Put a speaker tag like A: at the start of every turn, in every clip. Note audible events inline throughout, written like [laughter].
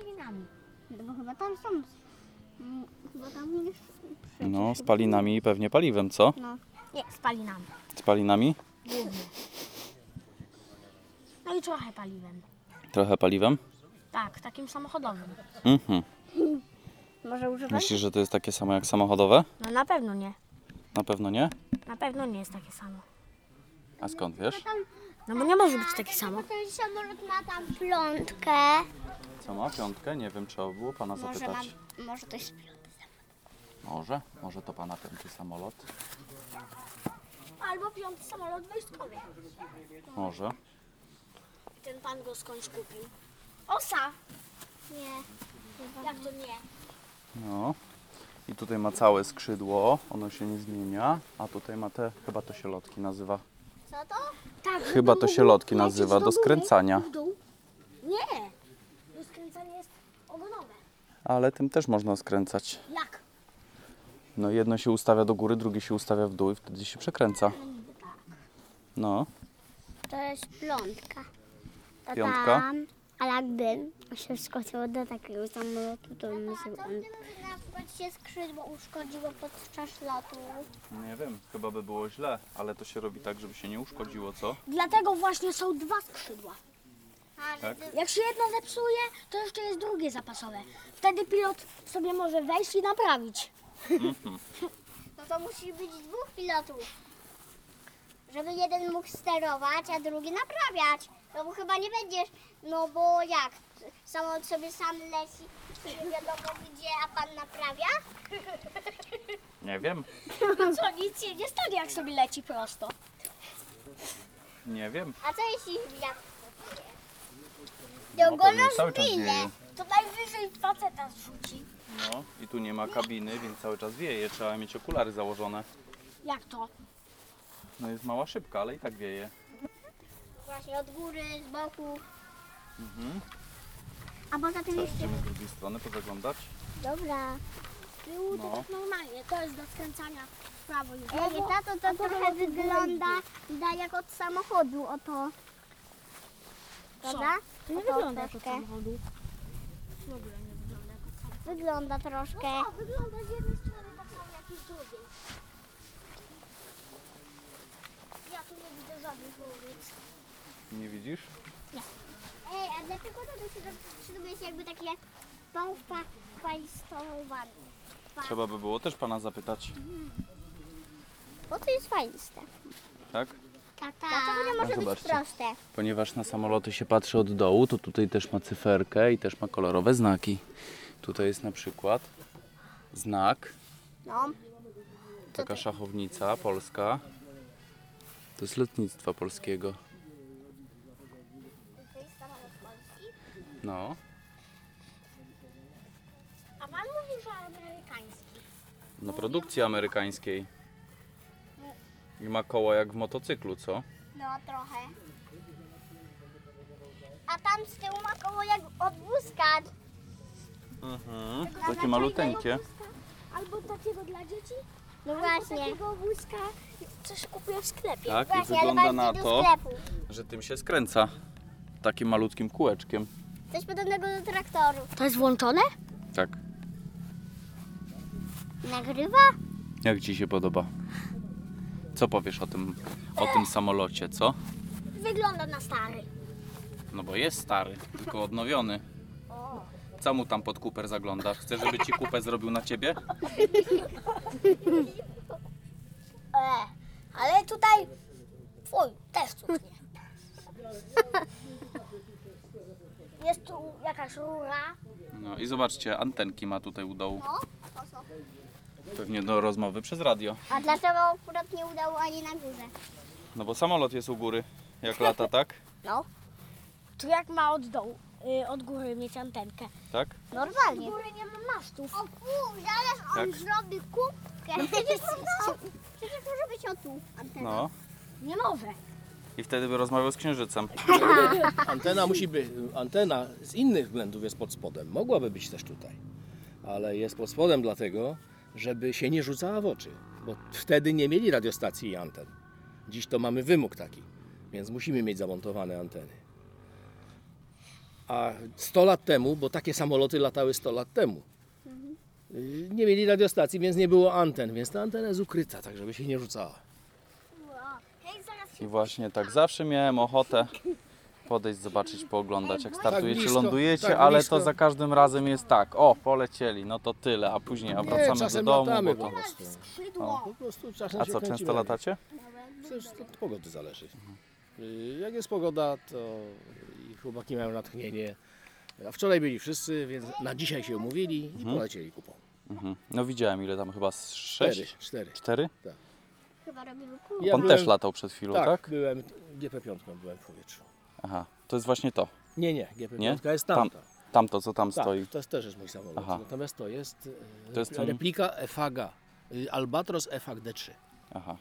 A: spalinami. No bo chyba tam są. mm, Chyba tam jest. przecież
B: No,
A: chyba-
B: spalinami i pewnie paliwem, co?
A: No, nie, spalinami.
B: Spalinami?
A: Głównie. No i trochę paliwem.
B: Trochę paliwem?
A: Tak, takim samochodowym.
B: Mhm.
A: Może używać?
B: Myślisz, że to jest takie samo jak samochodowe?
A: No na pewno nie.
B: Na pewno nie.
A: Na pewno nie jest takie samo.
B: A skąd wiesz?
A: No bo nie może być takie samo.
C: Ten samolot ma tam plątkę.
B: Co znaczy? ma? Piątkę? Nie wiem, trzeba było pana
C: Może, ma,
B: zapytać.
C: może to jest plątka.
B: Może? Może to pana piąty samolot?
A: Albo piąty samolot wojskowy.
B: Może.
A: Ten pan go skądś kupił. Osa!
C: Nie.
A: Jak to nie?
B: No. I tutaj ma całe skrzydło, ono się nie zmienia, a tutaj ma te, chyba to się lotki nazywa.
C: Co to?
A: Tak,
B: Chyba to się lotki nazywa, do skręcania.
A: Nie! Do skręcania jest ogonowe.
B: Ale tym też można skręcać.
A: Jak?
B: No jedno się ustawia do góry, drugie się ustawia w dół i wtedy się przekręca. No,
C: To jest plątka. To
B: Piątka?
C: Tam, ale jakby się wskoczyło do takiego samolotu, to bym się on... Na przykład się skrzydło uszkodziło podczas lotu.
B: No nie wiem, chyba by było źle, ale to się robi tak, żeby się nie uszkodziło, co?
A: Dlatego właśnie są dwa skrzydła.
C: Ale
B: Tak?
A: Jak się jedno zepsuje, to jeszcze jest drugie zapasowe. Wtedy pilot sobie może wejść i
C: [laughs]
A: naprawić.
C: No to musi być dwóch pilotów. Żeby jeden mógł sterować, a drugi naprawiać. No bo chyba nie będziesz, no bo jak? Samolot sobie sam leci, nie wiadomo gdzie, a pan naprawia?
B: Nie wiem,
A: Co, nic się nie stanie, jak sobie leci prosto.
B: nie wiem.
C: A co jeśli wbija?
B: No, pewnie cały czas wieje.
A: To najwyżej faceta zrzuci.
B: No, i tu nie ma kabiny, więc cały czas wieje, trzeba mieć okulary założone.
A: Jak to?
B: No jest mała szybka, ale i tak wieje.
C: Właśnie od góry, z boku.
B: Mhm.
C: A poza tym
B: Co,
C: jeszcze...
B: idziemy z drugiej strony pozaglądać?
C: Dobra.
A: Było
B: No.
A: to tak normalnie, to jest do skręcania w prawo i w
C: Ej,
A: lewo.
C: tato, No to trochę wygląda da jak od samochodu, oto. Prawda?
A: To nie
C: Oto
A: wygląda jak od
C: troszkę.
A: samochodu.
C: Wygląda troszkę.
A: wygląda z jednej strony tak samo jak i z drugiej. Ja tu nie widzę żadnych ulic.
B: Nie widzisz?
C: Ej, a dlaczego to się przydoby jest jakby takie pałpa fajstowane?
B: Trzeba by było też pana zapytać,
C: Bo to jest fajste.
B: tak?
C: Tak, tak. Dlaczego nie może być
B: zobaczcie.
C: proste?
B: Ponieważ na samoloty się patrzy od dołu, to tutaj też ma cyferkę i też ma kolorowe znaki. Tutaj jest na przykład znak,
C: No.
B: taka szachownica polska. To jest lotnictwa polskiego. No,
C: A pan mówi, że amerykański.
B: na produkcji amerykańskiej. I ma koła jak w motocyklu, co?
C: No, trochę. A tam z tyłu ma koło jak odbłyskać.
B: Mhm. Takie maluteńkie.
A: Albo takiego dla dzieci,
C: No
A: albo
C: właśnie.
A: takiego wózka, co się kupuje w sklepie.
B: Tak, i
C: Właśnie, ale
B: wygląda
C: bardziej
B: na
C: do
B: to,
C: sklepu.
B: że tym się skręca. Takim malutkim kółeczkiem.
C: Coś podobnego do traktoru.
A: To jest włączone?
B: Tak.
C: Nagrywa?
B: Jak Ci się podoba? Co powiesz o tym, o tym samolocie, co?
A: Wygląda na stary.
B: No bo jest stary, tylko odnowiony. Co mu tam pod kuper zaglądasz? Chcesz, żeby Ci kupę zrobił na Ciebie?
A: E, ale tutaj twój też cuchnie. [laughs] Jest tu jakaś rura.
B: No i zobaczcie, antenki ma tutaj u dołu.
C: No. po co?
B: Pewnie do rozmowy przez radio.
C: A dlaczego akurat nie udało ani na górze?
B: No bo samolot jest u góry, jak lata, tak?
C: No.
A: Tu jak ma od dołu, y, od góry mieć antenkę.
B: Tak?
C: Normalnie.
A: góry nie ma masztów.
C: O kur, zaraz on
B: Tak.
C: zrobi kubkę. No, Przecież, prawda? Przecież może być o tu antena.
B: No.
A: Nie może.
B: I wtedy by rozmawiał z księżycem.
D: Antena musi być, antena z innych względów jest pod spodem. Mogłaby być też tutaj, ale jest pod spodem dlatego, żeby się nie rzucała w oczy, bo wtedy nie mieli radiostacji i anten. Dziś to mamy wymóg taki, więc musimy mieć zamontowane anteny. A 100 lat temu, bo takie samoloty latały 100 lat temu, y, nie mieli radiostacji, więc nie było anten, więc ta antena jest ukryta, tak żeby się nie rzucała.
C: Hej, zaraz
B: I właśnie tak zawsze miałem ochotę podejść, zobaczyć, pooglądać, jak startujecie,
D: Tak blisko,
B: lądujecie,
D: tak
B: ale
D: blisko.
B: to za każdym razem jest tak, o, polecieli, no to tyle, a później, a
D: Nie,
B: wracamy do
D: czasem
B: domu,
D: latamy
B: bo
D: po
B: to...
D: prostu.
C: skrzydło.
D: Po prostu czasem
B: A
D: się
B: co,
D: kręcimy.
B: często latacie?
D: Przecież to od pogody zależy. Y, Jak jest pogoda, to i chłopaki mają natchnienie. A wczoraj byli wszyscy, więc na dzisiaj się umówili i polecieli kupą.
B: Mhm. No widziałem, ile tam chyba, z
D: Cztery,
B: sześć?
D: cztery.
B: Cztery?
C: Chyba robimy kół.
D: Ja
B: Pan
D: byłem-
B: też latał przed chwilą, tak?
D: Tak, byłem GP5 byłem w powietrzu.
B: Aha, to jest właśnie to,
D: Nie, nie, GP5 jest
B: Tam
D: tamta.
B: tamto, co tam
D: Tak,
B: stoi.
D: to jest też jest mój samolot.
B: Aha.
D: Natomiast to jest,
B: To
D: to
B: jest
D: jest
B: ten-
D: replika EFAGA. y, Albatros EFAG D3.
B: Aha.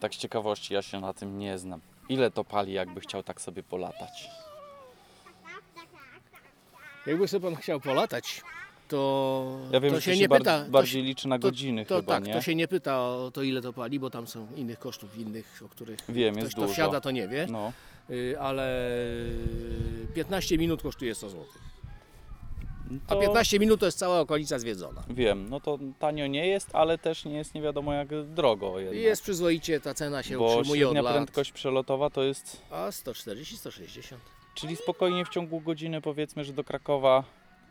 B: Tak z ciekawości, ja się na tym nie znam. Ile to pali, jakby chciał tak sobie polatać?
D: Jakby sobie pan chciał polatać, to,
B: Ja wiem,
D: to
B: że
D: się
B: się
D: nie
B: bar-
D: pyta. to
B: bardziej
D: się-
B: liczy na godziny
D: to,
B: chyba,
D: tak,
B: nie?
D: to się nie pyta o to, ile to pali, bo tam są innych kosztów, innych, o których
B: Wiem,
D: ktoś
B: jest
D: to
B: dużo.
D: wsiada, to nie wie.
B: No,
D: Y, ale 15 minut kosztuje 100 zł. A
B: To-
D: 15 minut to jest cała okolica zwiedzona.
B: wiem, no to tanio nie jest, ale też nie jest nie wiadomo jak drogo jednak.
D: I Jest przyzwoicie, ta cena się
B: bo
D: utrzymuje od
B: średnia
D: lat.
B: prędkość przelotowa to jest,
D: A 140, 160.
B: czyli spokojnie w ciągu godziny powiedzmy, że do Krakowa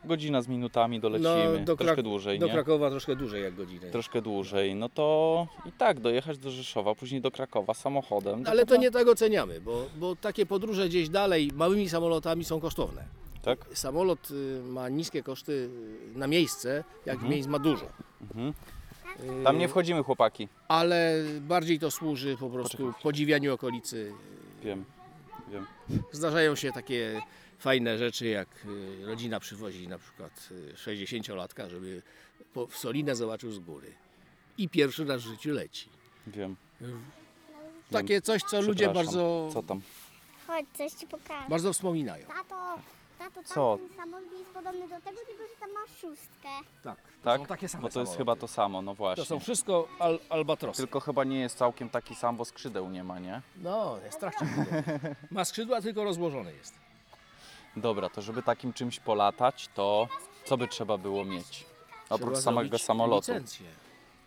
B: godzina z minutami dolecimy,
D: No, do
B: troszkę
D: Krak-
B: dłużej,
D: Do
B: nie?
D: Krakowa troszkę dłużej jak godzinę.
B: Troszkę dłużej, no to i tak dojechać do Rzeszowa, później do Krakowa samochodem.
D: Ale to nie tak oceniamy, bo, bo takie podróże gdzieś dalej małymi samolotami są kosztowne.
B: Tak?
D: Samolot y, ma niskie koszty y, na miejsce, jak
B: Mhm.
D: miejsc ma dużo.
B: Tam nie wchodzimy chłopaki,
D: Ale bardziej to służy po prostu podziwianiu okolicy.
B: wiem, wiem.
D: Zdarzają się takie fajne rzeczy, jak y, rodzina przywozi na przykład y, 60-latka, żeby po- w Solinę zobaczył z góry. I pierwszy raz w życiu leci.
B: Wiem.
D: Takie coś, co ludzie
B: No, Przepraszam.
D: bardzo,
B: Co tam?
C: Chodź, coś ci pokażę.
D: bardzo wspominają.
C: Tato, tato,
B: Co?
C: tam ten samolot jest podobny do tego, tylko że tam ma szóstkę.
D: Tak,
B: Tak? Bo to jest chyba to samo, no właśnie.
D: To są wszystko al, albatrosy.
B: Tylko chyba nie jest całkiem taki sam, bo skrzydeł nie ma, nie?
D: No,
B: [laughs]
D: jest trakcie. Ma skrzydła, tylko rozłożone jest.
B: Dobra, to żeby takim czymś polatać, to co by trzeba było mieć? Oprócz
D: Trzeba
B: samego
D: zrobić
B: samolotu.
D: Licencję.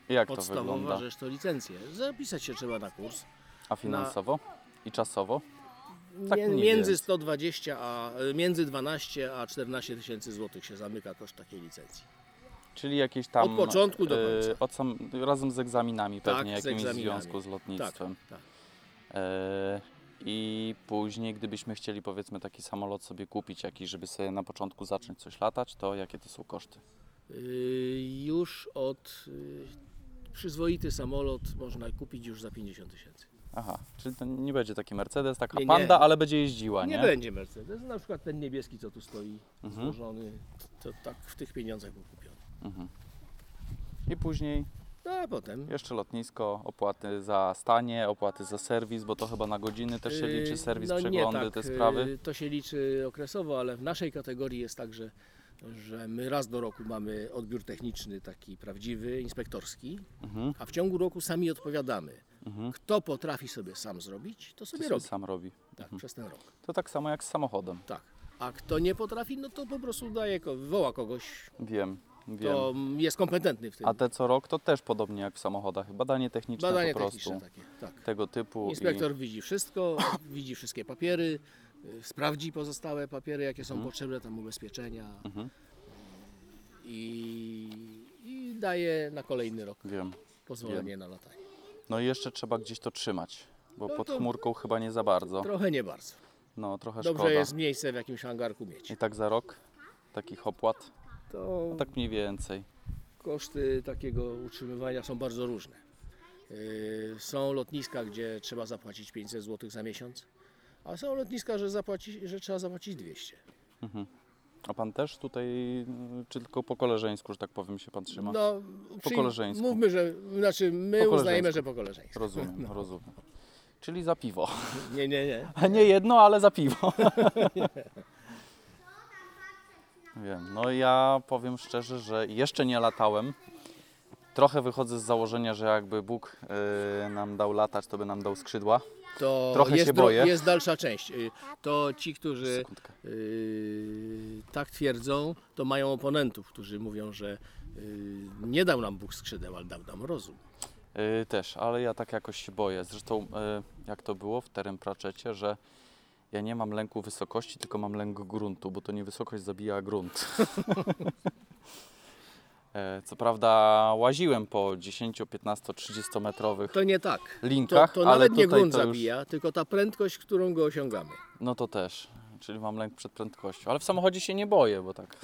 B: Jak to
D: Podstawowa
B: wygląda?
D: rzecz to licencję. Zapisać się trzeba na kurs.
B: A finansowo? I czasowo? Tak
D: Mie-
B: mniej
D: między
B: więcej.
D: 120 a e, między 12 a 14 tysięcy złotych się zamyka koszt takiej licencji.
B: Czyli jakieś tam...
D: Od początku do końca. Tak,
B: e, od sam, razem z egzaminami pewnie,
D: z
B: jakimiś w
D: egzaminami.
B: związku z
D: Tak,
B: lotnictwem.
D: tak.
B: E, I później, gdybyśmy chcieli powiedzmy taki samolot sobie kupić jakiś, żeby sobie na początku zacząć coś latać, to jakie to są koszty?
D: Yy, już od yy, przyzwoity samolot można kupić już za 50 tysięcy.
B: Aha, czyli to nie będzie taki Mercedes, taka
D: Nie, nie.
B: Panda, ale będzie jeździła, nie?
D: Nie będzie Mercedes, na przykład ten niebieski, co tu stoi,
B: Mhm.
D: złożony, to tak w tych pieniądzach był kupiony.
B: I później
D: No a potem
B: Jeszcze lotnisko, opłaty za stanie, opłaty za serwis, bo to chyba na godziny też się
D: Yy,
B: liczy serwis,
D: no nie
B: przeglądy,
D: tak,
B: te
D: yy,
B: sprawy.
D: To się liczy okresowo, ale w naszej kategorii jest tak, że, że my raz do roku mamy odbiór techniczny, taki prawdziwy, inspektorski,
B: Mhm.
D: a w ciągu roku sami odpowiadamy.
B: Mhm.
D: Kto potrafi sobie sam zrobić, to
B: To
D: sobie
B: sobie
D: robi
B: sam robi.
D: tak, przez ten rok.
B: To tak samo jak z samochodem.
D: Tak. A kto nie potrafi, no to po prostu daje, ko- woła kogoś,
B: Wiem, wiem.
D: kto jest kompetentny w tym.
B: A te co rok to też podobnie jak w samochodach. Badanie techniczne
D: Badania
B: po prostu.
D: techniczne takie. Tak.
B: Tego typu.
D: Inspektor
B: [coughs]
D: widzi wszystko, widzi wszystkie papiery, y, sprawdzi pozostałe papiery, jakie są
B: Mhm.
D: potrzebne, tam ubezpieczenia i, i daje na kolejny rok
B: I... Wiem.
D: pozwolenie na latanie.
B: No i jeszcze trzeba gdzieś to trzymać, bo
D: No
B: pod
D: to-
B: chmurką chyba nie za bardzo.
D: Trochę nie bardzo.
B: No trochę szkoda.
D: Dobrze jest miejsce w jakimś hangarku mieć.
B: I tak za rok takich opłat,
D: To
B: tak mniej więcej.
D: koszty takiego utrzymywania są bardzo różne. Y, Są lotniska, gdzie trzeba zapłacić 500 zł za miesiąc, a są lotniska, że, zapłaci, że trzeba zapłacić 200.
B: A pan też tutaj, y, czy tylko po koleżeńsku, że tak powiem, się pan trzyma?
D: No,
B: Po
D: czyli
B: koleżeńsku.
D: Mówmy, że znaczy my
B: Po
D: uznajemy,
B: koleżeńsku.
D: że po koleżeńsku.
B: Rozumiem, rozumiem. Czyli za piwo. [laughs]
D: Nie, nie, nie.
B: A nie jedno, ale za piwo. [laughs] Wiem. No ja powiem szczerze, że jeszcze nie latałem. Trochę wychodzę z założenia, że jakby Bóg y, nam dał latać, to by nam dał skrzydła.
D: to
B: Trochę się
D: jest, dro-
B: boję.
D: jest dalsza część. Y, To ci, którzy
B: Sekundkę.
D: y, tak twierdzą, to mają oponentów, którzy mówią, że y, nie dał nam Bóg skrzydeł, ale dał nam rozum.
B: Y, też, ale ja tak jakoś się boję. Zresztą, y, jak to było w Terem Pratchecie, że ja nie mam lęku wysokości, tylko mam lęk gruntu, bo to nie wysokość zabija a grunt. [laughs] Y, Co prawda łaziłem po 10, 15, 30 metrowych
D: To nie tak. To,
B: linkach,
D: to
B: ale
D: nawet nie
B: tutaj
D: grunt
B: to już,
D: zabija, tylko ta prędkość, którą go osiągamy.
B: no to też, czyli mam lęk przed prędkością, ale w samochodzie się nie boję, bo tak,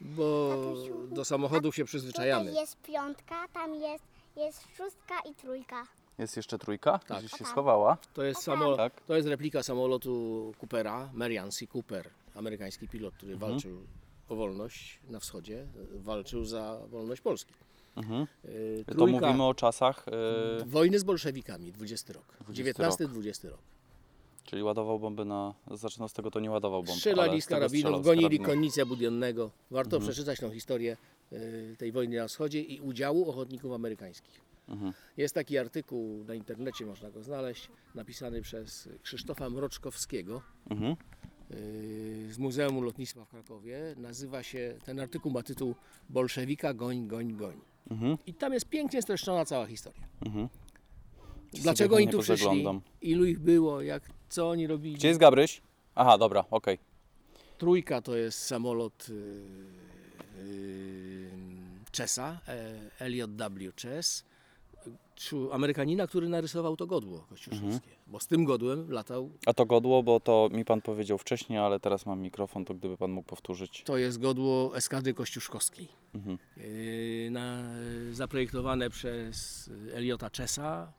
D: Bo
C: Tatusiu,
D: do samochodów się
C: Tutaj
D: przyzwyczajamy.
C: jest piątka, tam jest, jest szóstka i trójka.
B: jest jeszcze trójka,
D: Tak.
B: gdzieś się schowała,
D: To jest, samolot,
B: Tak.
D: to jest replika samolotu Coopera, Marian C. Cooper, amerykański pilot, który
B: Mhm.
D: walczył o wolność na wschodzie, e, walczył za wolność Polski.
B: Mhm.
D: E,
B: to
D: Trójka,
B: mówimy o czasach, y,
D: Wojny z bolszewikami, 20 rok,
B: 20 rok.
D: 19-20 rok.
B: czyli ładował bomby na, znaczy no z tego to nie ładował bomby,
D: Strzelali
B: ale
D: z
B: tego strzelał
D: karabinów,
B: z
D: gonili
B: karabinu. Mhm.
D: konnicę budionnego. Warto przeczytać tą historię y, tej wojny na wschodzie i udziału ochotników amerykańskich.
B: Mhm.
D: Jest taki artykuł na internecie, można go znaleźć, napisany przez Krzysztofa Mroczkowskiego
B: Mhm.
D: y, z Muzeum Lotnictwa w Krakowie. Nazywa się, ten artykuł ma tytuł Bolszewika goń, goń, goń.
B: Mhm.
D: I tam jest pięknie streszczona cała historia.
B: Mhm.
D: Dlaczego
B: sobie
D: oni
B: nie
D: tu przyszli,
B: pozaglądam.
D: ilu ich było, jak, co oni robili.
B: Gdzie jest Gabryś? Aha, dobra, okej.
D: Trójka to jest samolot y, y, Czesa, e, Elliot W. Chess, czu- Amerykanina, który narysował to godło kościuszewskie, bo z tym godłem latał,
B: A to godło, bo to mi pan powiedział wcześniej, ale teraz mam mikrofon, to gdyby pan mógł powtórzyć.
D: to jest godło eskady kościuszkowskiej.
B: Mhm.
D: Y, na, zaprojektowane przez Eliota Chessa,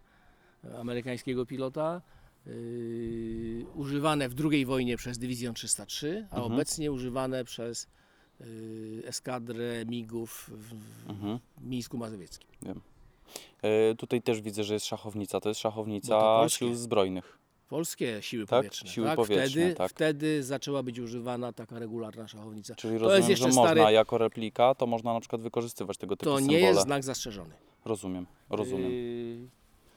D: amerykańskiego pilota, y, używane w II wojnie przez Dywizjon 303, a
B: Mhm.
D: obecnie używane przez y, eskadrę MIGów w, w
B: Mhm.
D: Mińsku Mazowieckim.
B: E, tutaj też widzę, że jest szachownica. To jest
D: Bo to
B: szachownica
D: polskie.
B: sił zbrojnych.
D: Polskie siły
B: Tak,
D: powietrzne.
B: siły powietrzne,
D: wtedy,
B: tak.
D: wtedy zaczęła być używana taka regularna szachownica.
B: Czyli
D: To
B: rozumiem,
D: jest jeszcze
B: że można
D: stary-
B: jako replika, to można na przykład wykorzystywać tego typu
D: To nie
B: symbole.
D: jest znak zastrzeżony.
B: Rozumiem, rozumiem.
D: Y,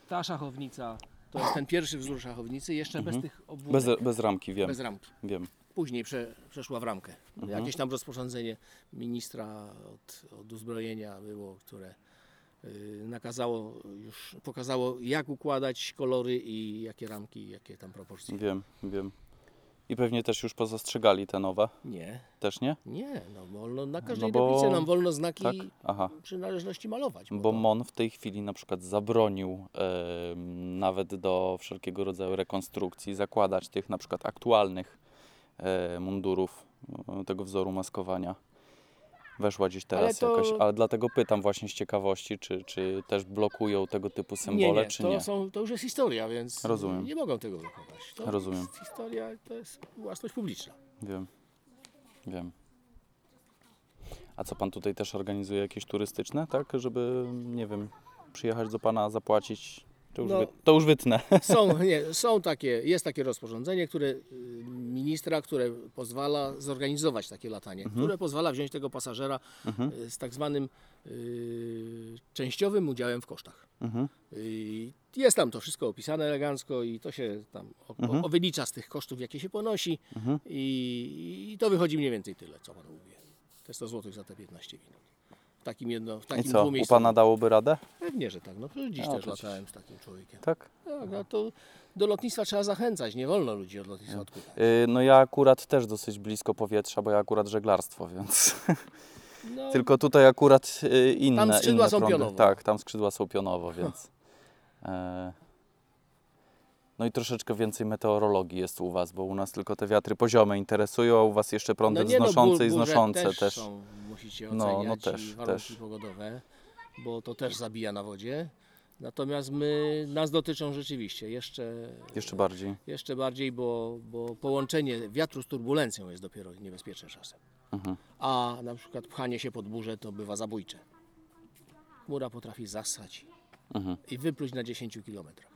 D: ta szachownica to jest ten pierwszy wzór szachownicy, jeszcze bez tych obwódek,
B: Mhm. Bez, bez ramki, wiem, Mhm.
D: bez ramki.
B: wiem.
D: Później prze, przeszła w ramkę. Jakieś tam rozporządzenie ministra od, od uzbrojenia było, które y, nakazało już, pokazało jak układać kolory i jakie ramki, jakie tam proporcje.
B: Wiem, wiem. I pewnie też już pozastrzegali te nowe.
D: Nie,
B: Też nie?
D: nie, no wolno, na
B: No
D: każdej
B: bo-
D: tablicy nam wolno znaki
B: Tak? Aha.
D: przynależności malować.
B: Bo
D: to-
B: MON w tej chwili na przykład zabronił em, nawet do wszelkiego rodzaju rekonstrukcji zakładać tych na przykład aktualnych e, mundurów e, tego wzoru maskowania. Weszła gdzieś teraz
D: to-
B: jakoś, ale dlatego pytam właśnie z ciekawości, czy, czy też blokują tego typu symbole,
D: nie, nie,
B: czy
D: to
B: nie.
D: Są, to już jest historia, więc
B: Rozumiem.
D: nie mogą tego blokować. To
B: Rozumiem.
D: Jest historia to jest własność publiczna.
B: Wiem, wiem. A co pan tutaj też organizuje jakieś turystyczne, tak? Żeby, nie wiem, przyjechać do pana, zapłacić. To już,
D: No.
B: wy... to już wytnę.
D: Są, nie, są takie, jest takie rozporządzenie, które y, ministra, które pozwala zorganizować takie latanie,
B: Mhm.
D: które pozwala wziąć tego pasażera y, z tak zwanym y, częściowym udziałem w kosztach.
B: Mhm.
D: Y, Jest tam to wszystko opisane elegancko i to się tam o, o,
B: Mhm.
D: wylicza z tych kosztów, jakie się ponosi i, i to wychodzi mniej więcej tyle, co Pan mówi. To jest 100 zł za te 15 minut. W takim jedno, w
B: I
D: takim
B: co, u
D: dwumiejscowym.
B: pana dałoby radę?
D: Pewnie, że tak. No przecież dziś
B: A,
D: też
B: przecież.
D: latałem z takim człowiekiem.
B: Tak.
D: Tak, a to do lotnictwa trzeba zachęcać, nie wolno ludzi od lotnictwa odkuwać.
B: Y, No ja akurat też dosyć blisko powietrza, bo ja akurat żeglarstwo, więc [laughs]
D: No,
B: tylko tutaj akurat y, inne
D: Tam skrzydła
B: inne
D: są
B: prądy.
D: pionowo.
B: Tak, tam skrzydła są
D: [laughs]
B: pionowo, więc e, no i troszeczkę więcej meteorologii jest u Was, bo u nas tylko te wiatry poziome interesują, a u Was jeszcze prądy
D: no nie,
B: wznoszące
D: bur-
B: i
D: burze
B: znoszące też.
D: Są, musicie
B: No, no
D: oceniać no,
B: też,
D: i warunki
B: też.
D: pogodowe, bo to też zabija na wodzie. Natomiast my, nas dotyczą rzeczywiście jeszcze,
B: Jeszcze bardziej.
D: jeszcze bardziej, bo, bo połączenie wiatru z turbulencją jest dopiero niebezpieczne czasem.
B: Mhm.
D: A na przykład pchanie się pod burzę to bywa zabójcze. Chmura potrafi zassać
B: Mhm.
D: i wypluć na 10 kilometrach.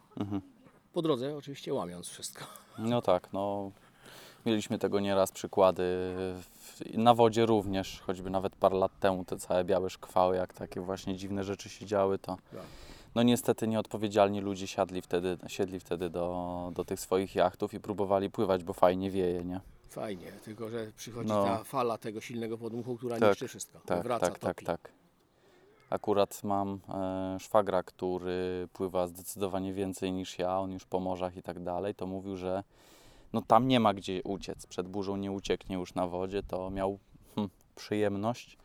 D: Po drodze oczywiście łamiąc wszystko.
B: No tak, no mieliśmy tego nieraz przykłady. w- Na wodzie również, choćby nawet parę lat temu te całe białe szkwały, jak takie właśnie dziwne rzeczy się działy, to
D: Tak.
B: No niestety nieodpowiedzialni ludzie siadli wtedy, siedli wtedy do, do tych swoich jachtów i próbowali pływać, bo fajnie wieje, nie?
D: Fajnie, tylko że przychodzi
B: No.
D: ta fala tego silnego podmuchu, która
B: Tak,
D: niszczy wszystko.
B: Tak,
D: wraca,
B: tak, tak,
D: topi.
B: tak. Akurat mam e, szwagra, który pływa zdecydowanie więcej niż ja, on już po morzach i tak dalej, to mówił, że no tam nie ma gdzie uciec, przed burzą nie ucieknie już na wodzie, to miał hm, przyjemność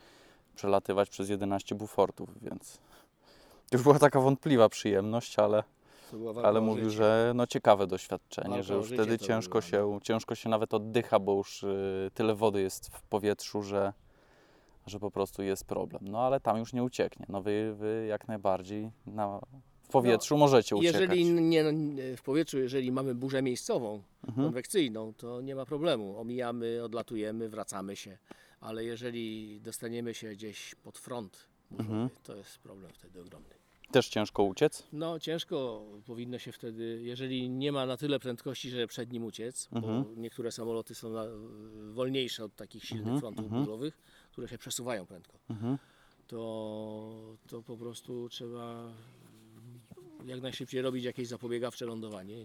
B: przelatywać przez 11 bufortów, więc [laughs] to już była taka wątpliwa przyjemność, ale,
D: To była walka
B: ale
D: o
B: mówił,
D: życie.
B: że no ciekawe doświadczenie,
D: Walka
B: że
D: o
B: już
D: życie
B: wtedy
D: to no.
B: ciężko
D: była,
B: się, ciężko się nawet oddycha, bo już y, tyle wody jest w powietrzu, że, że po prostu jest problem. No ale tam już nie ucieknie. No wy, wy jak najbardziej na, w powietrzu możecie uciekać.
D: No, Jeżeli nie, w powietrzu, jeżeli mamy burzę miejscową,
B: Mhm.
D: konwekcyjną, to nie ma problemu. Omijamy, odlatujemy, wracamy się. Ale jeżeli dostaniemy się gdzieś pod front burzowy,
B: Mhm.
D: to jest problem wtedy ogromny.
B: Też ciężko uciec?
D: No ciężko powinno się wtedy, jeżeli nie ma na tyle prędkości, że przed nim uciec, bo
B: Mhm.
D: niektóre samoloty są na, wolniejsze od takich silnych frontów
B: mhm.
D: burzowych, które się przesuwają prędko, to, to po prostu trzeba jak najszybciej robić jakieś zapobiegawcze lądowanie,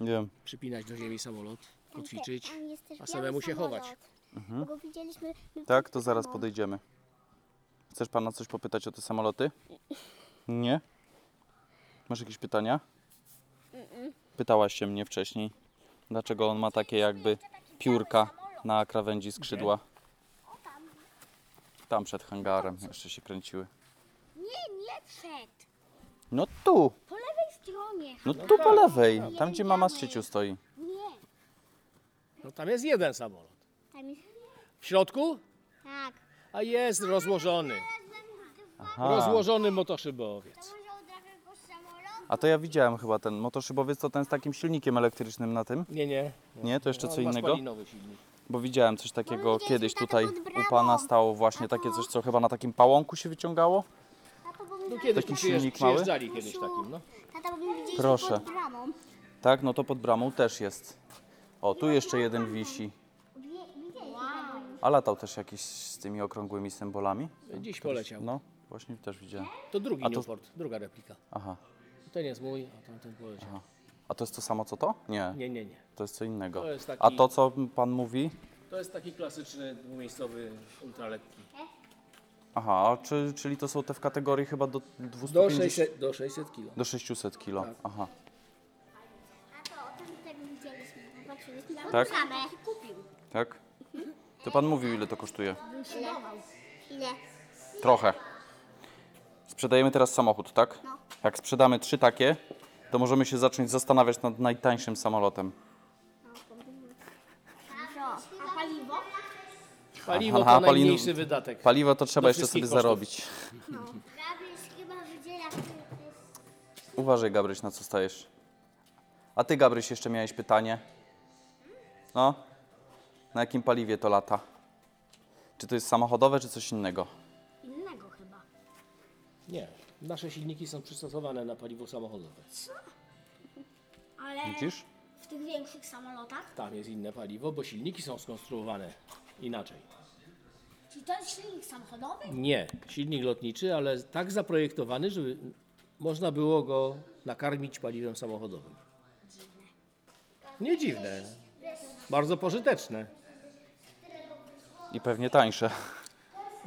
B: Nie wiem.
D: przypinać do ziemi samolot, kotwiczyć.
C: Tam jest też
D: a
C: biały
D: samemu się
C: samolot.
D: chować. Mhm.
C: Bo go widzieliśmy. my
B: Tak,
C: przed
B: to zaraz
C: sobą.
B: podejdziemy. Chcesz pana coś popytać o te samoloty? Nie? Masz jakieś pytania? Pytałaś się mnie wcześniej, dlaczego on ma takie jakby piórka na krawędzi skrzydła. Tam przed hangarem jeszcze się kręciły.
A: Nie, nie przed.
B: No tu,
A: Po lewej stronie.
B: no tu po lewej, tam gdzie mama z ciecią stoi.
A: Nie.
D: No tam jest jeden samolot.
C: Tam jest...
D: W środku?
C: Tak.
D: A jest rozłożony.
B: Aha.
D: Rozłożony motoszybowiec.
C: Może od go samolot?
B: A to ja widziałem chyba ten motoszybowiec, to ten z takim silnikiem elektrycznym na tym?
D: Nie, nie.
B: Nie, to jeszcze
D: On
B: co
D: ma
B: innego?
D: spalinowy silnik.
B: Bo widziałem coś takiego
C: No, widzieliśmy
B: kiedyś
C: taką
B: tutaj
C: pod
B: u
C: bramą.
B: pana stało właśnie takie coś, co chyba na takim pałąku się wyciągało.
C: Tato, bo my
D: No kiedyś
B: Taki
D: Taki
B: silnik mały?
D: przyjeżdżali kiedyś takim, no.
C: Tata, bo my widzieliśmy
B: Proszę.
C: pod bramą.
B: Tak, no to pod bramą też jest. O, tu jeszcze jeden wisi. A latał też jakiś z tymi okrągłymi symbolami?
D: Dziś poleciał.
B: No, właśnie też widziałem.
D: To drugi
B: A to-
D: Newport, druga replika.
B: Aha.
D: Ten jest mój, a tamten poleciał.
B: A to jest to samo co to? Nie,
D: Nie, nie, nie.
B: to jest co innego.
D: To jest taki-
B: A to co pan mówi?
D: To jest taki klasyczny dwumiejscowy ultralekki.
B: Aha, czy, czyli to są te w kategorii chyba do 250?
D: Do Tak. 600, do 600 kilo.
B: do 600 kilo. Aha.
C: A to, o tym tego widzieliśmy. Popatrzyliśmy na
B: Tak?
C: bramę.
B: Tak? To pan mówił ile to kosztuje?
C: Ile?
B: Trochę. Sprzedajemy teraz samochód, tak? Jak sprzedamy trzy takie, to możemy się zacząć zastanawiać nad najtańszym samolotem.
C: Dużo. A paliwo?
D: Paliwo
B: Aha,
D: to
B: palin-
D: najmniejszy wydatek.
B: Paliwo to trzeba
D: Do
B: jeszcze sobie
D: wszystkich kosztów.
B: zarobić.
C: No. Gabriel chyba wydziela, który jest...
B: Uważaj, Gabryś, na co stajesz. A ty, Gabryś, jeszcze miałeś pytanie? No? Na jakim paliwie to lata? Czy to jest samochodowe, czy coś innego?
A: Innego chyba.
D: Nie, nasze silniki są przystosowane na paliwo samochodowe.
A: Ale
B: Widzisz?
A: w tych większych samolotach?
D: Tam jest inne paliwo, bo silniki są skonstruowane inaczej.
A: Czy to jest silnik samochodowy?
D: Nie, silnik lotniczy, ale tak zaprojektowany, żeby można było go nakarmić paliwem samochodowym. Nie dziwne. Bardzo pożyteczne.
B: I pewnie tańsze.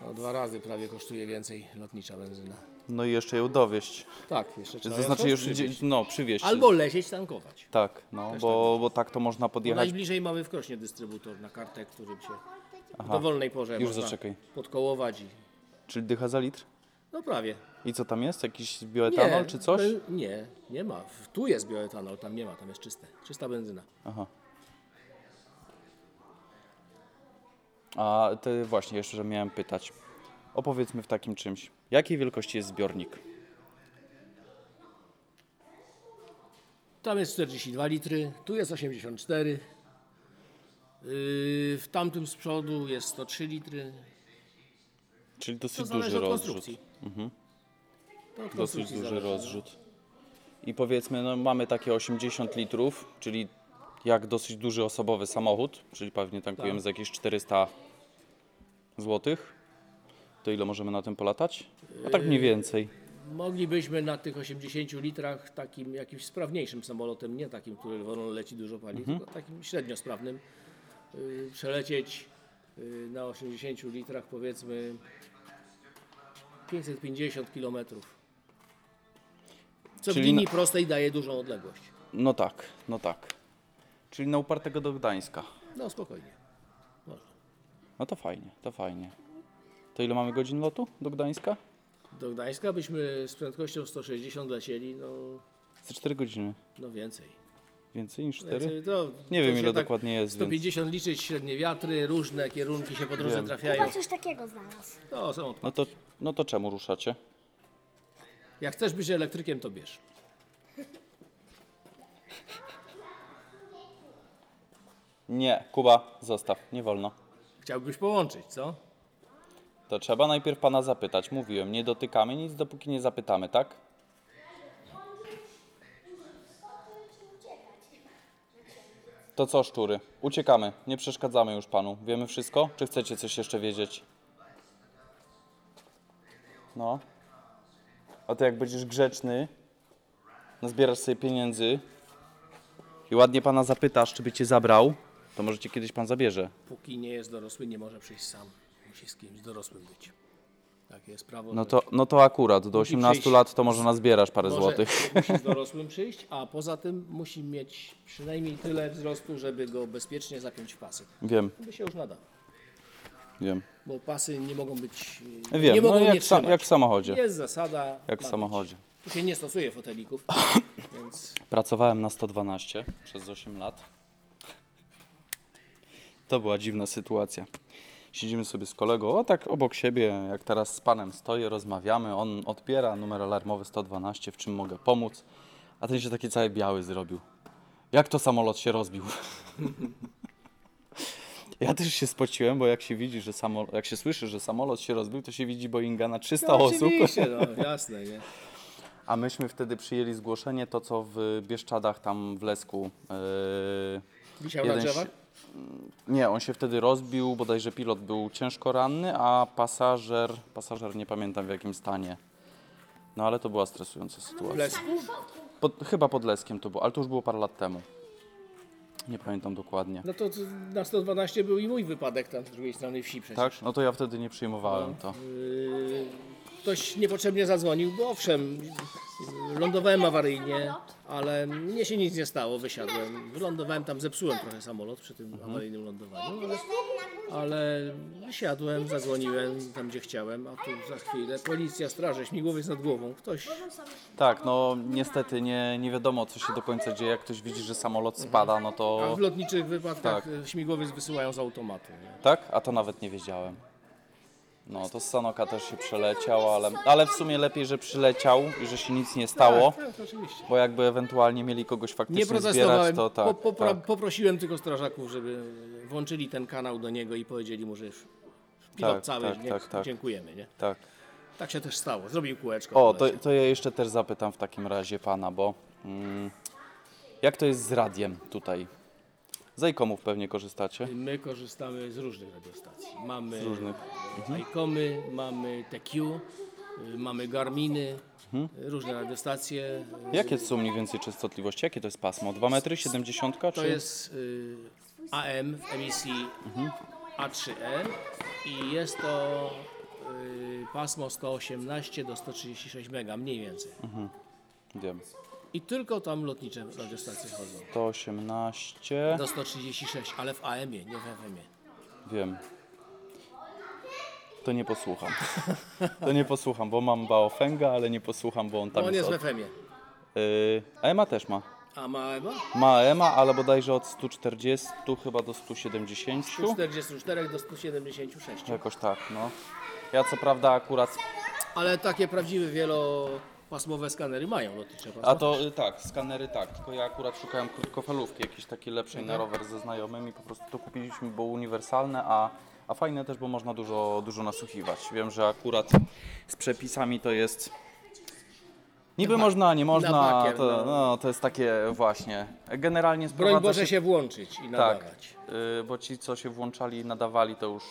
D: No, dwa razy prawie kosztuje więcej lotnicza benzyna.
B: No i jeszcze ją dowieść.
D: Tak, jeszcze trzeba
B: To
D: ją
B: znaczy już,
D: odkryć.
B: gdzie- no, przywieźć.
D: Albo lecieć tankować.
B: Tak, no, bo, bo tak to można
D: Bo
B: podjechać
D: najbliżej mamy w Krośnie dystrybutor na kartę, którym się w dowolnej porze
B: Już
D: można
B: zaczekaj.
D: podkołować. I...
B: Czyli dycha za litr?
D: No prawie.
B: I co tam jest? Jakiś bioetanol czy coś?
D: be- Nie, nie ma. W- Tu jest bioetanol, tam nie ma, tam jest czyste. Czysta benzyna.
B: Aha. A ty właśnie, jeszcze że miałem pytać. Opowiedzmy w takim czymś. Jakiej wielkości jest zbiornik?
D: Tam jest 42 litry, tu jest 84. Yy, w tamtym z przodu jest 103 litry.
B: Czyli dosyć
D: To
B: duży
D: zależy od
B: rozrzut. Mhm.
D: konstrukcji. To od
B: Dosyć
D: konstrukcji
B: duży
D: zależy.
B: rozrzut. I powiedzmy, no, mamy takie 80 litrów, czyli jak dosyć duży osobowy samochód, czyli pewnie tankujemy za jakieś 400
D: Yy,
B: złotych. To ile możemy na tym polatać? A tak No mniej więcej.
D: Moglibyśmy na tych 80 litrach takim jakimś sprawniejszym samolotem, nie takim, który wolno leci dużo pali,
B: Mhm.
D: tylko takim średnio sprawnym, y, przelecieć y, na 80 litrach powiedzmy 550 km. Co w
B: Czyli
D: linii
B: na-
D: prostej daje dużą odległość.
B: No tak, no tak. Czyli na upartego do Gdańska.
D: No spokojnie. Można.
B: No to fajnie, to fajnie. To ile mamy godzin lotu do Gdańska?
D: Do Gdańska byśmy z prędkością 160 lecieli, no,
B: Za 4 godziny.
D: no więcej.
B: Więcej niż 4?
D: Więcej, no,
B: Nie
D: to
B: wiem
D: się
B: ile
D: tak
B: dokładnie jest, więc
D: 150 liczyć, średnie wiatry, różne kierunki się podróże
B: Wiem.
D: trafiają.
A: Chyba coś takiego znalazł.
D: No, są odpady.
B: no to, no to czemu ruszacie?
D: Jak chcesz być elektrykiem, to bierz.
B: Nie, Kuba, zostaw, nie wolno.
D: Chciałbyś połączyć, co?
B: To trzeba najpierw pana zapytać. Mówiłem, nie dotykamy nic, dopóki nie zapytamy, tak? To co, szczury? Uciekamy, nie przeszkadzamy już panu. Wiemy wszystko? Czy chcecie coś jeszcze wiedzieć? No. A to jak będziesz grzeczny, nazbierasz sobie pieniędzy i ładnie pana zapytasz, czy by cię zabrał, to może cię kiedyś pan zabierze.
D: Póki nie jest dorosły, nie może przyjść sam. Musi z kimś dorosłym być. Takie jest prawo.
B: No
D: że
B: to, no to akurat, do 18
D: przyjść-
B: lat to może nazbierasz parę
D: może
B: złotych.
D: Musi z dorosłym przyjść, a poza tym musi mieć przynajmniej tyle wzrostu, żeby go bezpiecznie zapiąć w pasy.
B: Wiem,
D: By się już nadało.
B: wiem.
D: Bo pasy nie mogą być. e,
B: Wiem,
D: nie
B: no
D: mogą nie
B: jak, sa,
D: trzymać.
B: jak w samochodzie.
D: Jest zasada.
B: Jak w
D: ma
B: samochodzie.
D: być. Tu się nie stosuje
B: [laughs]
D: fotelików, więc
B: Pracowałem na 112 przez 8 lat. To była dziwna sytuacja. Siedzimy sobie z kolegą, o tak obok siebie, jak teraz z panem stoję, rozmawiamy. On odbiera numer alarmowy 112, w czym mogę pomóc. A ten się taki cały biały zrobił. Jak to samolot się rozbił? [laughs] ja też się spociłem, bo jak się widzi, że samolot, jak się słyszy, że samolot się rozbił, to się widzi Boeinga na 300
D: No,
B: osób.
D: oczywiście, no, jasne, nie?
B: A myśmy wtedy przyjęli zgłoszenie, to co w Bieszczadach, tam w Lesku. Yy,
D: Wisiał na
B: jeden
D: drzewach?
B: się- nie, on się wtedy rozbił, bodajże pilot był ciężko ranny, a pasażer, pasażer nie pamiętam w jakim stanie. No ale to była stresująca
D: W
B: sytuacja.
D: lesie.
B: Pod, chyba pod Leskiem to było, ale to już było parę lat temu. Nie pamiętam dokładnie.
D: No to na 112 był i mój wypadek tam z drugiej strony wsi przecież.
B: Tak? No to ja wtedy nie przyjmowałem to.
D: Yy, ktoś niepotrzebnie zadzwonił, bo owszem, yy, lądowałem awaryjnie, ale mnie się nic nie stało, wysiadłem. Wylądowałem tam, zepsułem trochę samolot przy tym
B: Mhm.
D: awaryjnym lądowaniu, ale, ale wysiadłem, zadzwoniłem tam gdzie chciałem, a tu za chwilę policja, straże, śmigłowiec nad głową, ktoś
B: Tak, no niestety nie, nie wiadomo co się do końca dzieje. Jak ktoś widzi, że samolot spada, no
D: A
B: to...
D: w lotniczych
B: Tak.
D: wypadkach tak. śmigłowiec wysyłają z automatu. Nie?
B: Tak? A to nawet nie wiedziałem. No, to z Sanoka też się przeleciał, ale, ale w sumie lepiej, że przyleciał i że się nic nie stało,
D: Tak, tak, oczywiście.
B: bo jakby ewentualnie mieli kogoś
D: Nie
B: faktycznie zbierać,
D: protestowałem,
B: to tak.
D: po, popra-
B: tak.
D: poprosiłem tylko strażaków, żeby włączyli ten kanał do niego i powiedzieli mu, że już pilot
B: Tak,
D: cały,
B: tak,
D: nie,
B: tak, tak.
D: dziękujemy. Nie?
B: tak.
D: Tak się też stało, zrobił kółeczko.
B: O, to,
D: poleciał.
B: to ja jeszcze też zapytam w takim razie pana, bo mm, jak to jest z radiem tutaj? Z Ejkomów pewnie korzystacie.
D: My korzystamy z różnych radiostacji. Mamy
B: różnych.
D: ICOMy, mamy TQ, y, mamy Garminy, y, różne radiostacje.
B: Jakie są mniej więcej częstotliwości? Jakie to jest pasmo? 2 metry? 70? Czy...
D: To jest y, AM w emisji A3E i jest to y, pasmo 118 do 136 mega, mniej więcej.
B: Wiem.
D: I tylko tam lotnicze radiostacje chodzą.
B: 118.
D: Do 136, ale w AM-ie, nie w FM-ie.
B: Wiem. To nie posłucham. To nie posłucham, bo mam Baofenga, ale nie posłucham, bo on tam
D: On
B: jest.
D: jest w
B: Od...
D: FM-ie.
B: Yy, a Ema też ma.
D: A ma Ewa?
B: Ma Ema, ale bodajże od 140 chyba do 170.
D: 44 do 176.
B: Jakoś tak, no. Ja co prawda akurat.
D: Ale takie prawdziwe wielopasmowe skanery mają lotnicze pasmo.
B: A to y, tak, skanery tak, tylko ja akurat szukałem krótkofalówki jakiejś takiej lepszej
D: Mhm.
B: na rower ze znajomymi, po prostu to kupiliśmy, bo uniwersalne, a, a fajne też, bo można dużo, dużo nasłuchiwać. Wiem, że akurat z przepisami to jest Niby można, nie
D: na
B: można,
D: bakier,
B: to,
D: no.
B: no, to jest takie właśnie. Generalnie
D: Broń
B: sprowadza
D: Boże
B: się,
D: się włączyć i
B: tak,
D: nadawać.
B: y, bo ci co się włączali i nadawali to już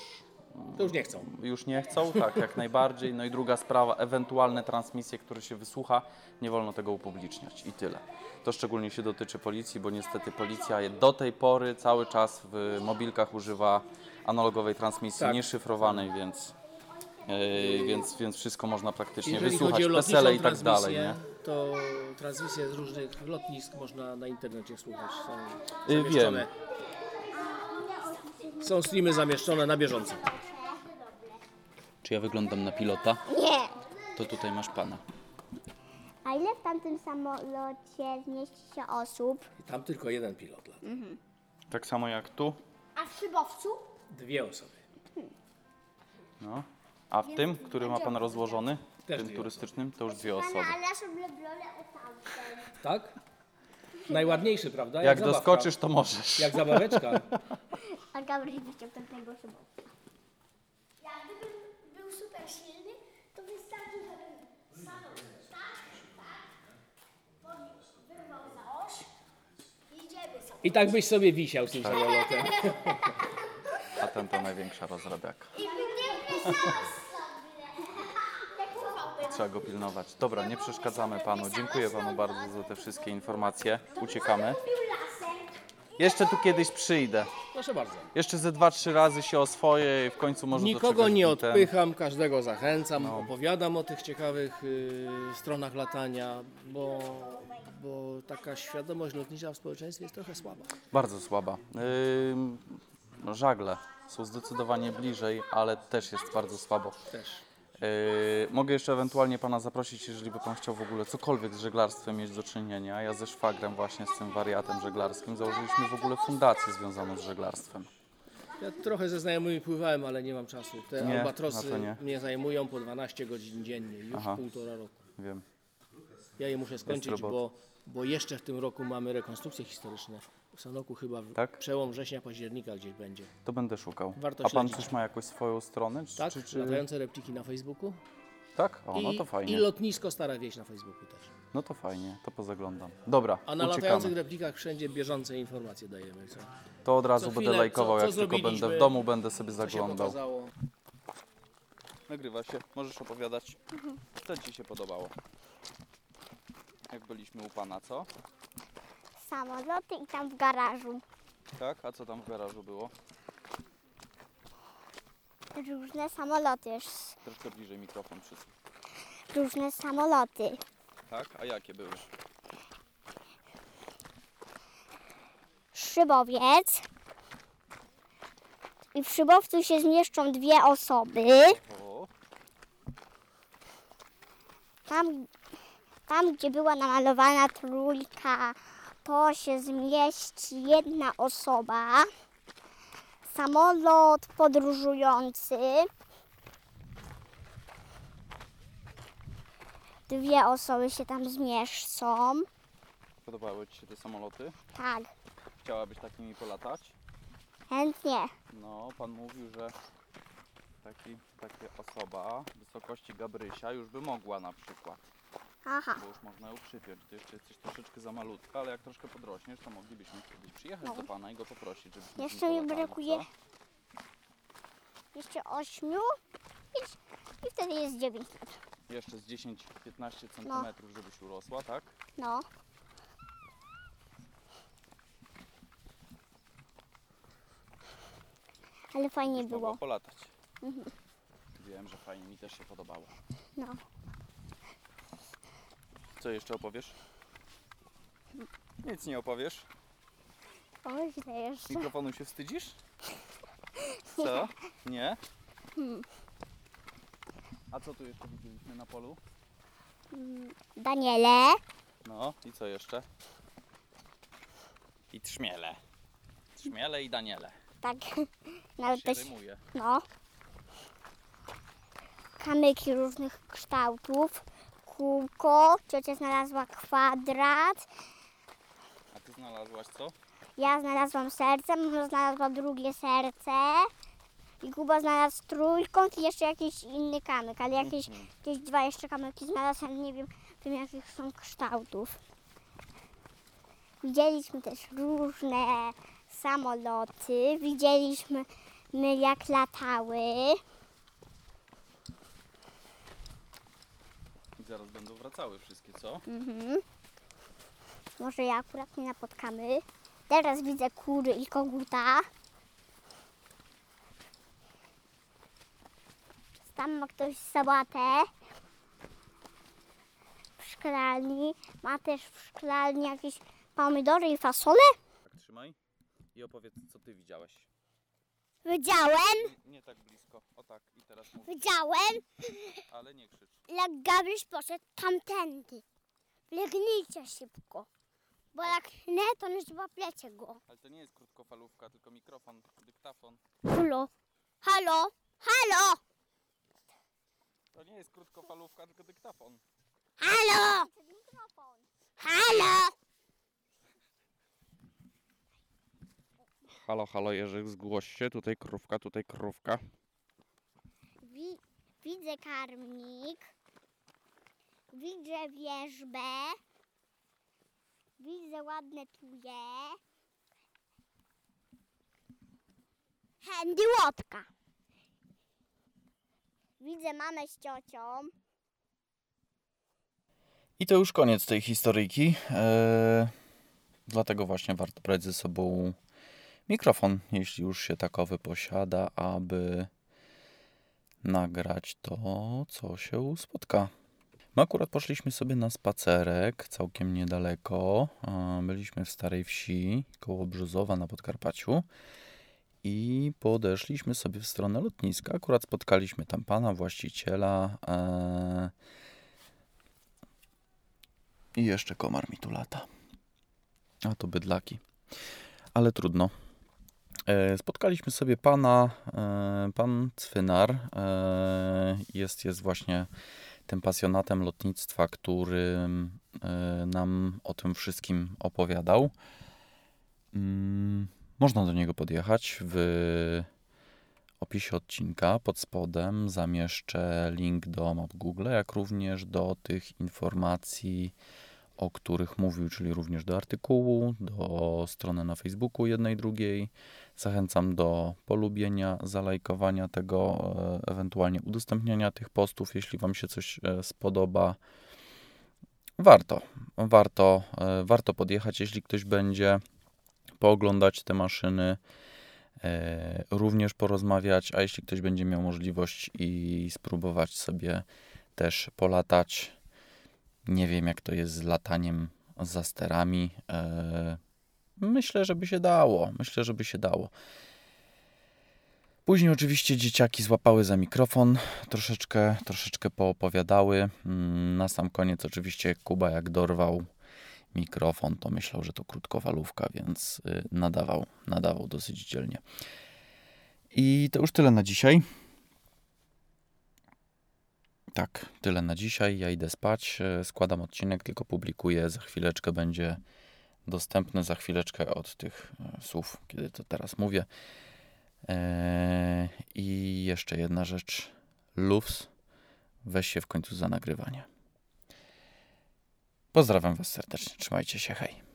D: To już nie chcą.
B: już nie chcą, tak,
D: [laughs]
B: jak najbardziej. No i druga sprawa, ewentualne transmisje, które się wysłucha, nie wolno tego upubliczniać i tyle. To szczególnie się dotyczy policji, bo niestety policja je do tej pory cały czas w mobilkach używa analogowej transmisji,
D: Tak.
B: nieszyfrowanej, więc, yy, więc, więc wszystko można praktycznie
D: Jeżeli
B: wysłuchać,
D: chodzi o lotniczą
B: wesele i tak
D: transmisję,
B: dalej. Nie?
D: to transmisje z różnych lotnisk można na internecie słuchać. Są
B: Y,
D: zamieszczone. Są streamy zamieszczone na bieżąco.
B: Czy ja wyglądam na pilota?
C: Nie.
B: To tutaj masz pana.
C: A ile w tamtym samolocie zmieści się osób?
D: Tam tylko jeden pilot lata.
B: Tak samo jak tu,
C: A w szybowcu?
D: Dwie osoby.
B: no. a w tym, który ma pan rozłożony,
D: Też
B: tym
D: dwie
B: turystycznym, to już dwie
C: Pana,
B: osoby.
C: ale ja sobie blolę o tamten.
D: Tak? Najładniejszy, prawda?
B: Jak
D: zabawka.
B: doskoczysz, to możesz.
D: Jak zabaweczka.
C: A Gabriel wyciągnął tego szybowca.
E: Jakbym był super silny, to wystarczy, żebym stanął tak, tak, podniósł, wyrwał za oś, idziemy sobie.
D: I tak byś sobie wisiał z
B: [laughs]
D: tym samolotem.
B: A ten to największa rozrabiaka.
E: I bym nie wysłał sobie. Nie chowałbym.
B: Trzeba go pilnować. Dobra, nie przeszkadzamy panu. Dziękuję panu bardzo za te wszystkie informacje. Uciekamy.
E: Mówił lasem.
B: Jeszcze tu kiedyś przyjdę.
D: Proszę bardzo.
B: Jeszcze ze dwa, trzy razy się oswoję i w końcu może do
D: Nikogo
B: czegoś
D: nie
B: No ten- No.
D: odpycham, każdego zachęcam, opowiadam o tych ciekawych y, stronach latania, bo, bo taka świadomość lotnicza w społeczeństwie jest trochę słaba.
B: Bardzo słaba. Ym, żagle są zdecydowanie bliżej, ale też jest bardzo słabo.
D: Też.
B: Yy, mogę jeszcze ewentualnie Pana zaprosić, jeżeli by Pan chciał w ogóle cokolwiek z żeglarstwem mieć do czynienia. Ja ze szwagrem właśnie, z tym wariatem żeglarskim, założyliśmy w ogóle fundację związaną z żeglarstwem.
D: Ja trochę ze znajomymi pływałem, ale nie mam czasu. Te
B: Nie,
D: albatrosy
B: na to nie.
D: mnie zajmują po 12 godzin dziennie, już
B: Aha.
D: półtora roku.
B: Wiem.
D: Ja je muszę skończyć,
B: robota.
D: bo, bo jeszcze w tym roku mamy rekonstrukcje historyczne. W Sanoku chyba w
B: Tak?
D: przełom września, października gdzieś będzie.
B: To będę szukał.
D: Warto
B: A pan
D: śledzić.
B: też ma jakąś swoją stronę? Czy,
D: Tak?
B: Czy, czy...
D: Latające repliki na Facebooku.
B: tak? O, no
D: I-
B: to
D: I
B: fajnie.
D: lotnisko Stara Wieś na Facebooku też.
B: No to fajnie, to pozaglądam. Dobra,
D: A na latających
B: uciekamy.
D: replikach wszędzie bieżące informacje dajemy. Co,
B: To od razu
D: co
B: będę
D: chwilę, co-
B: lajkował,
D: co
B: jak tylko będę
D: zrobiliśmy,
B: w domu, będę sobie
D: co się
B: zaglądał.
D: pokazało.
B: Nagrywa się, możesz opowiadać. Co Ci się podobało? Jak byliśmy u Pana, co?
C: Samoloty i tam w garażu.
B: Tak? A co tam w garażu było?
C: Różne samoloty, sz-
B: Troszkę bliżej mikrofon wszystko.
C: różne samoloty.
B: Tak? A jakie były?
C: Szybowiec. I w szybowcu się zmieszczą dwie osoby.
B: O,
C: Tam, tam gdzie była namalowana trójka, to się zmieści jedna osoba. Samolot podróżujący. Dwie osoby się tam zmieszczą.
B: podobały Ci się te samoloty?
C: Tak,
B: Chciałabyś takimi polatać?
C: chętnie.
B: No, pan mówił, że taki, taka osoba wysokości Gabrysia już by mogła na przykład,
C: Aha,
B: bo już można ją przypiąć. Ty jeszcze jesteś troszeczkę za malutka, ale jak troszkę podrośniesz, to moglibyśmy kiedyś przyjechać do pana i go poprosić, żebyśmy z
C: No.
B: nim
C: Jeszcze mi
B: polatali,
C: brakuje-
B: co?
C: jeszcze ośmiu i, i wtedy jest dziewięć.
B: Jeszcze z 10-15 centymetrów, żebyś urosła, tak?
C: No. Ale fajnie
B: Byś mogła
C: było. Mhm.
B: polatać. Wiem, że fajnie, mi też się podobało.
C: No.
B: Co jeszcze opowiesz? Nic nie opowiesz?
C: O, źle jeszcze.
B: Mikrofonu się wstydzisz? Co? Nie?
C: Hmm.
B: A co tu jeszcze widzieliśmy na polu?
C: Daniele.
B: No i co jeszcze? I trzmiele. Trzmiele i Daniele.
C: Tak. [laughs] Nawet
B: Się
C: też.
B: rymuje.
C: No. Kamyki różnych kształtów. Kółko. Ciocia znalazła kwadrat.
B: A ty znalazłaś co?
C: Ja znalazłam serce. Mama znalazła drugie serce. I Kuba znalazł trójkąt i jeszcze jakiś inny kamyk, ale jakieś, jakieś dwa jeszcze kamyki znalazł, ale nie wiem, wiem jakich są kształtów. Widzieliśmy też różne samoloty, widzieliśmy my jak latały.
B: I zaraz będą wracały wszystkie, co?
C: Mhm. Może ja akurat nie napotkamy. Teraz widzę kury i koguta. Tam ma ktoś sabatę. W szklarni. Ma też w szklarni jakieś pomidory i fasole.
B: Tak, trzymaj i opowiedz, co ty widziałeś.
C: Widziałem,
B: Nie tak blisko, o tak i teraz mów,
C: widziałem,
B: ale nie krzycz.
C: jak Gabryś poszedł tamtędy. Wlegnijcie szybko. Bo jak nie, to nie złapiecie go.
B: Ale to nie jest krótkofalówka, tylko mikrofon, dyktafon.
C: Halo, halo, halo,
B: To nie jest krótkofalówka, tylko dyktafon.
C: halo, halo.
B: Halo, halo Jerzyk, zgłoś się, tutaj krówka, tutaj krówka.
C: Wi- widzę karmnik. Widzę wieżbę. Widzę ładne tuje. Handy łotka. Widzę mamę z ciocią.
B: I to już koniec tej historyjki. Eee, dlatego właśnie warto brać ze sobą mikrofon, jeśli już się takowy posiada, aby nagrać to, co się spotka. My akurat poszliśmy sobie na spacerek całkiem niedaleko. E, Byliśmy w Starej Wsi, koło Brzozowa na Podkarpaciu. I podeszliśmy sobie w stronę lotniska. Akurat spotkaliśmy tam pana właściciela. E, i jeszcze komar mi tu lata. A to bydlaki. Ale trudno. E, Spotkaliśmy sobie pana, e, pan Cwynar. e, Jest, jest właśnie tym pasjonatem lotnictwa, który e, nam o tym wszystkim opowiadał. Mm, Można do niego podjechać. W opisie odcinka pod spodem zamieszczę link do map Google, jak również do tych informacji o których mówił, czyli również do artykułu, do strony na Facebooku jednej, drugiej. Zachęcam do polubienia, zalajkowania tego, e, ewentualnie udostępniania tych postów, jeśli Wam się coś e, spodoba. Warto, warto, e, warto podjechać, jeśli ktoś będzie pooglądać te maszyny, e, również porozmawiać, a jeśli ktoś będzie miał możliwość i spróbować sobie też polatać, nie wiem, jak to jest z lataniem za sterami. E, Myślę, żeby się dało. Myślę, żeby się dało. Później oczywiście dzieciaki złapały za mikrofon, troszeczkę, troszeczkę poopowiadały. Mm, Na sam koniec oczywiście Kuba jak dorwał mikrofon, to myślał, że to krótkowalówka, więc y, nadawał, nadawał dosyć dzielnie. I to już tyle na dzisiaj. Tak, tyle na dzisiaj. Ja idę spać. e, Składam odcinek, tylko publikuję. Za chwileczkę będzie dostępny. Za chwileczkę od tych e, słów, kiedy to teraz mówię. Eee, I jeszcze jedna rzecz. Lufs, weź się w końcu za nagrywanie. Pozdrawiam Was serdecznie. Trzymajcie się. Hej.